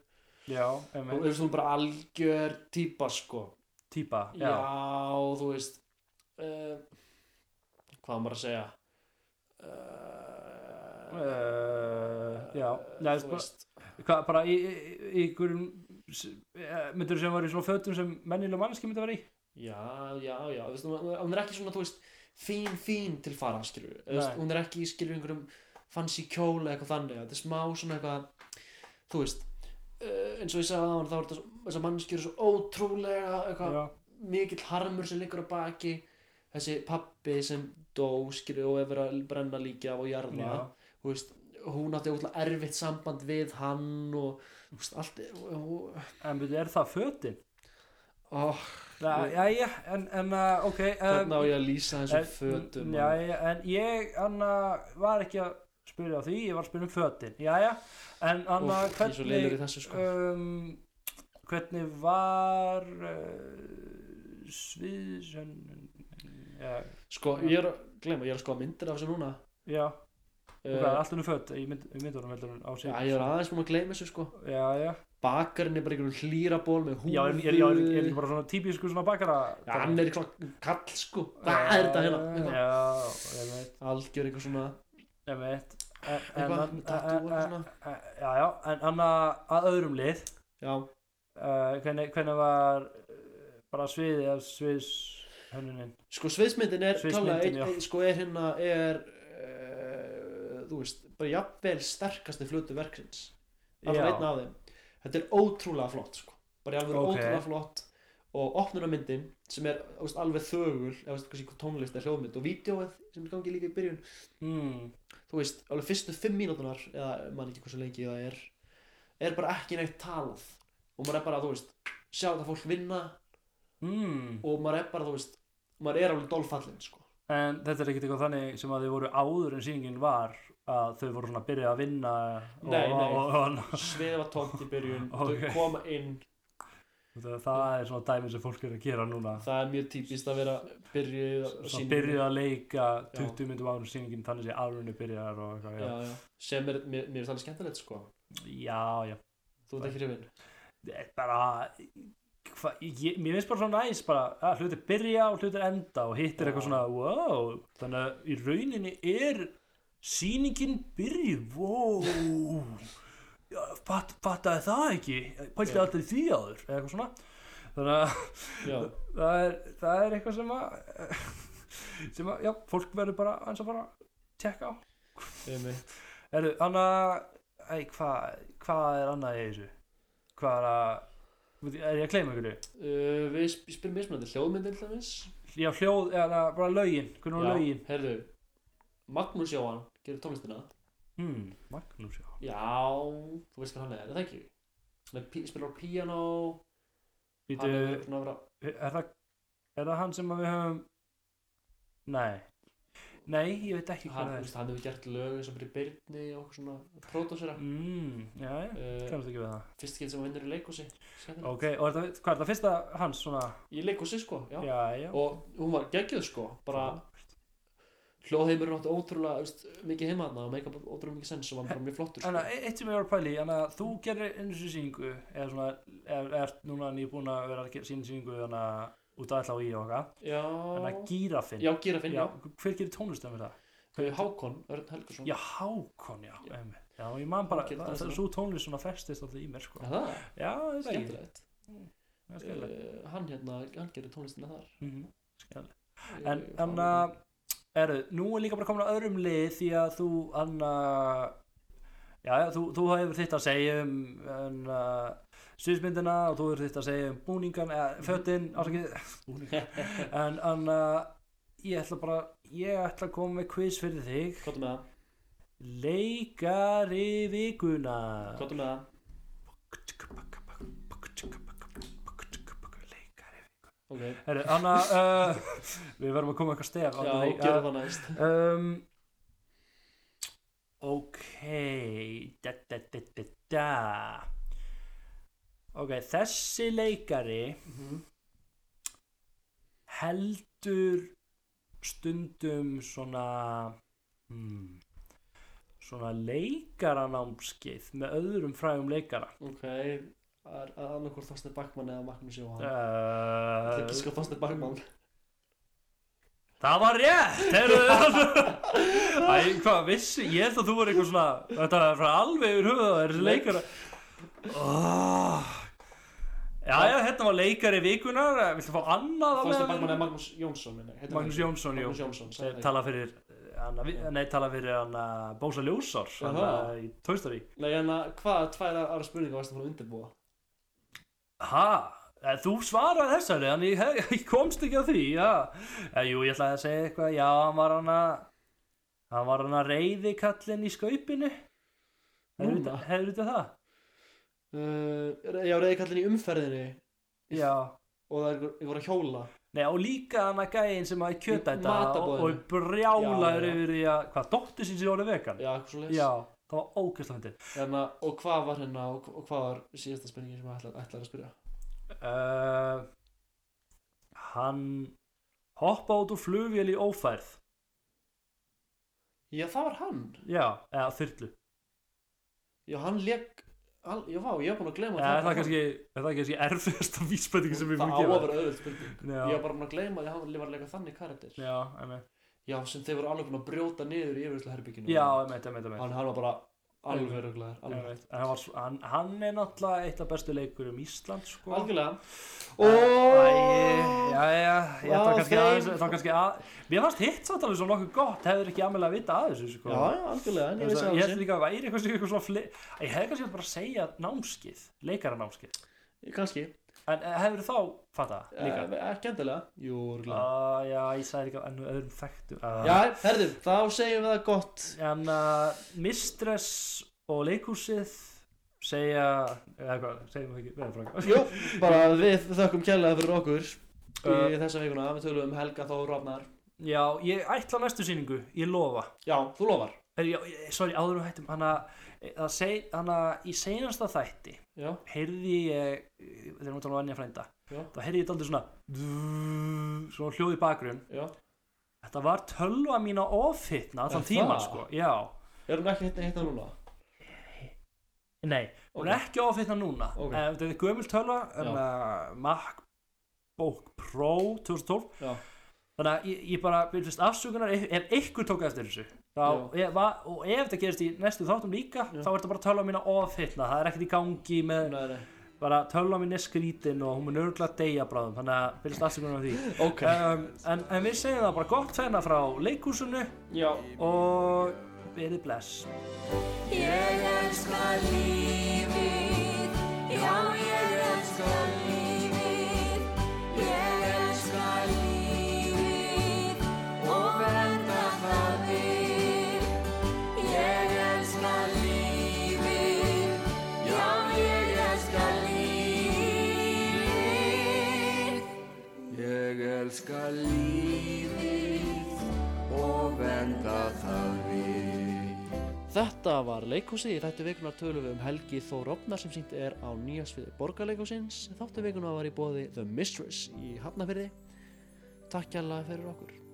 Já, og einmitt þú veist, hún er bara algjör típa sko. Típa, Já, já, þú veist uh, Hvað á maður að segja uh, Eh, já, nei, Þú bara- veist Hvað, bara í, í, í- í einhverjum e, myndur sem var í svona fötum sem mennilega manneski myndi að vera í Já, já, já, þú veist, hún- hún er ekki svona, þú veist fín, fín til fara, skilur við Þú veist, Nei. Hún er ekki, skilur við, einhverjum fancy kjól eða eitthvað þannig, þetta er smá svona eitthvað þú veist Uh, eins og ég sagði á hann þá er þetta svo- þessar mannskjur svo ótrúlega eitthvað Já, mikill harmur sem liggur á baki þessi pappi sem dó skilur og hefur að brenna líka af og jarða Já. þú veist, hún átti útla erfitt samband við hann og þú veist, allt og, En við er það fötin? og, Jæja, en, en uh, ok um, hvernig á ég að lýsa þessum fötum já, en ég anna, var ekki að spyrja á því ég var að spyrja um fötin Jæja, en anna, Úff, ég er svo leilur í hvernig þessu sko um, hvernig var uh, sviðsön já, sko, ég er að glemma, ég er að sko myndir af þessu núna já Eh, ok, allt henni föt í mynd- í myndunum heldur hún á já, sig ég er aðeins búin að gleyma þessu sko já, já, bakarinn er bara einhverjum hlýraból með húfu já, er, er, já, er, er ekki bara svona típisku svona bakara Já, hann er eitthvað kall sko hvað er þetta hérna Eitthvað. já, ég veit algjör eitthvað svona Ég veit En- en- Eitthvað en- með tattoo og en- svona. en- Já, já, en annað að öðrum lið já, uh, hvernig, hvernig var uh, bara sviðið af sviðs hönnunin sko sviðsmyndin er Sviðsmyndin, klálega ein, já. ein, sko er hérna er uh, þú veist, bara jafnvel sterkasti flötu verksins allra einn af þeim þetta er ótrúlega flott sko bara í alveg Ok. ótrúlega flott og opnunarmyndin sem er þú veist, alveg þögul eða þú veist, kannski tónlist er hljóðmynd og vídeoið sem er gangið líka í byrjun mm, þú veist, alveg fyrstu fimm mínútunar eða mann ekki hversu lengi það er er bara ekki neitt talað og maður er bara, þú veist, sjá þetta fólk vinna mm. og maður er bara, þú veist maður er alveg dolfallin, sko En þetta er ekkert eitthvað þannig sem að þau voru áður en sýningin var að þau voru svona að byrja að vinna og, Nei, nei. Og, og, sviðið var tómt í byrjun, *laughs* Ok. þau koma inn og, það er svona dæmi sem fólk er að gera núna það er mjög típist að vera byrjuð á Svona sýningunni. byrjuð að leika Já. 20 myndum áður en sýningin þannig sé áður en þau byrjar og eitthvað já, já. sem er, mér, mér er þannig skemmtilegt, sko já, já þú ert ekki hrifin Ég bara hva, ég, mér finnst bara svona næs bara að hlutir byrja og hlutir enda og hittir Já. eitthvað svona wow þannig að í rauninni er sýningin byrjuð wow Já, fatt, fattaði það ekki pælti Já. alltaf í því áður eða eitthvað svona þannig að já, það er, það er eitthvað sem að sem að, *laughs* já, fólk verður bara eins og bara tjekka á um Erðu, annað, æ, hvað, hvað er annað í þessu? Hvað er að, veit ég- er ég að kleyma einhverju? uh, við sp- spyrum mismunandi, hljóðmyndin til dæmis Já, hljóð, eða bara lögin, hvernig voru lögin? herðu Magnús Jóhann gerir tónlistina Hmm, Magnús, já. Já, þú veist hvað hann er, er það ekki? Svona pí, spilar á piano Vítu, Hann er svona að vera er það, er það hann sem að við höfum, nei, nei, ég veit ekki Hann, þú hvað það er. veist, hann hefur gert lög eins og fyrir Byrni og svona pródúsera Mm, já, já, uh, kannast ekki við það. Fyrst ekki sem hann vinnur í leikhúsi skemmtilegt. Ok, og er það, hvað er það fyrsta hans svona? Í leikhúsi sko, já. Já, já. Og hún var geggjöð sko Bara hljóðheimurinn átti ótrúlega þú veist, mikið heima þarna og meika bara ótrúlega mikið sens og var bara mjög flottur sko. Þannig að e- eitt sem ég var að pæla í, þannig að þú gerir einu sinni sýningu, eða svona, eða ert núna nýbúin að vera að gera sína sýningu þannig að út að allá í og okkar, þannig að Já, gírafinn, já, gera finn, já, já hver gerir tónlistum við það? Eh, Hákon, Örn Helgason Já, Hákon, já, Já. einmitt. já, ég man bara, Gerir það, það tónlistina. er svo tónlist svona festist alltaf í mér, sko. Er Það, Já, ég veit ekki, skemmtilegt það er skemmtilegt. Eh, Hann hérna, hann gerir tónlistina þar Eh, Mhm, skemmtilegt. Ég- En, uh, ég- en að, erðu, nú er líka bara komin að öðrum lið því að þú, Anna, já, já, þú, þú hefur þitt að segja um anna, sviðsmyndina og þú hefur þitt að segja um búningan, eða fötin, ásakið, *laughs* búningan, en Anna, ég ætla bara, ég ætla að koma með quiz fyrir þig, Kottu með það, leikari vikuna. kottu með það Leikari. Ok, Herru, Anna, uh, við verðum að koma eitthvað stef já, gerðu það næst um, Ok da, da, da, da, da. Ok, þessi leikari heldur stundum svona hmm, svona leikaranámskeið með öðrum frægum leikara Ok, að annarkvort Þorstein Bakman eða Magnús Jóhann Það er ekki uh, sko Þorstein Bakman Það var rétt, heyrðu Æ, hvað vissi, ég held að þú var eitthvað svona Þetta var frá alveg yfir höfuð Það er þessi leikara oh. Já, já, þetta var leikari vikunar Viltu fá annað á Þorstein meðan? Bakman eða Magnús Jónsson minni, heitir Magnús hann ekki? Jónsson, jú Magnús Jónsson, sagði Sem það Tala fyrir eh, hana, vi- Já. Nei, tala fyrir hana Bósa Ljósar hana, Jaha. Í Tóistari ekki. Nei, en að hvað tvær aðra spurningar varst að fara að undirbúa? Ha, Eh, Þú svarar þessari, en ég, hef- *laughs* ég komst ekki að því, já. Eh, jú, ég ætlaði að segja eitthvað, já, hann var hann að, hann var hann að reyði kallin í skaupinu. Hefur Núna? þetta það? uh, já, reyði kallin í umferðinni Já. og það er- ég voru að hjóla Nei, og líka hann að gæinn sem að kjöta Í þetta og, matarboðinu. og brjálaður Já, já. yfir því að, hvað, dóttir sín sem voru vegan? já, eitthvað svo Já, það var ógæsla fyndið. Þannig að, og hvað var hérna og, og hvað var síðasta spurningin sem ætlar, ætlar að spyrja? Uh, hann hoppa út úr flugvél í ófærð. Já, það var hann. Já, eða þyrlu. Já, hann leik, hann, já, vá, ég var búin að gleyma Eða, er var það kannski, er það kannski erfiðasta *laughs* vísbending sem við hann. fyrir Það á gefa? að vera öðvöld spurning. Ég var Já, bara búin að gleyma því að hann var að leika þannig karakter. já, einmitt. Já, sem þeir voru alveg búin að brjóta niður í yfirvöldsleherbygginu. Já, einmitt, einmitt, einmitt. Hann, hann var bara alveg röglegar, alveg. Einmitt. En Hann, var, s- hann, hann er náttúrulega eitt af bestu leikurum Ísland, sko. Algjörlega. Æ, Ó, já, já, ég ætla Á kannski þeim- aðeins, þá kannski að, mér fannst hitt samt alveg svo nokkuð gott, hefur ekki aðmjöla að vita að þessu, já, sko. já, algjörlega, en Ég ég vissi ég að held þessi. líka að væri eitthvað, eitthvað svona fle... Ég hefði kannski átt bara að segja námskið, leikara námskið. Kannski. En eh, hefur þá fattað það líka? Eh, Ekki endilega. Jú, röglegar. Uh, já, ég sagði líka enn öðrum þekktum. Uh, Já, herðu, þá segjum við það gott. En uh, Mistress og leikhúsið segja, eða hvað, segjum við ekki, við erum frá Jú, bara við þökkum kærlega fyrir okkur í Uh, þessa vikuna, við tölum um Helga Þór Rafnar Já, ég ætla næstu sýningu, ég lofa. Já, þú lofar Er, já, ég- sorry, áður um hættum, hana, það seg, hana í seinasta þætti, Já, heyrði heyrði ég, þegar hún talaði vannja um frænda, Já. þá heyrði ég daldið svona, svona hljóð í bakgrunn. Já, Þetta var tölva mín á ofhittna Er þann tíma, það? sko, já. er hún ekki hérna hérna núna? Nei, hún er ekki ofitna núna Ok. okay. Þetta er gömul tölva en, Já. uh, MacBook Pro 2012 Já. Þannig að ég, ég bara, mér finnst afsökunar ef, ef ykkur tók eftir þessu þá, ég, va, og ef þetta gerist í næstu þáttum líka Já. þá er þetta bara tölva mín ofitna það er ekkert í gangi með Nei, nei, bara tölva mín er skrítin og hún mun örgulega deyja bráðum þannig að mér finnst afsökunar af því *laughs* ok um, en, en við segjum það bara gott þennan frá leikhúsinu Já, og verið bless Ég elska lífið, já ég elska lífið, ég elska lífið og verða það við. Ég elska lífið, já ég elska lífið. Ég elska lífið og verða það við. þetta var leikhúsið, í þættu vikunar tölum við um Helgi Þór Rafnar sem sínt er á nýja sviði borgarleikhúsins Þáttu vikunar var í bóði The Mistress í Hafnafyrði Takk kærlega fyrir okkur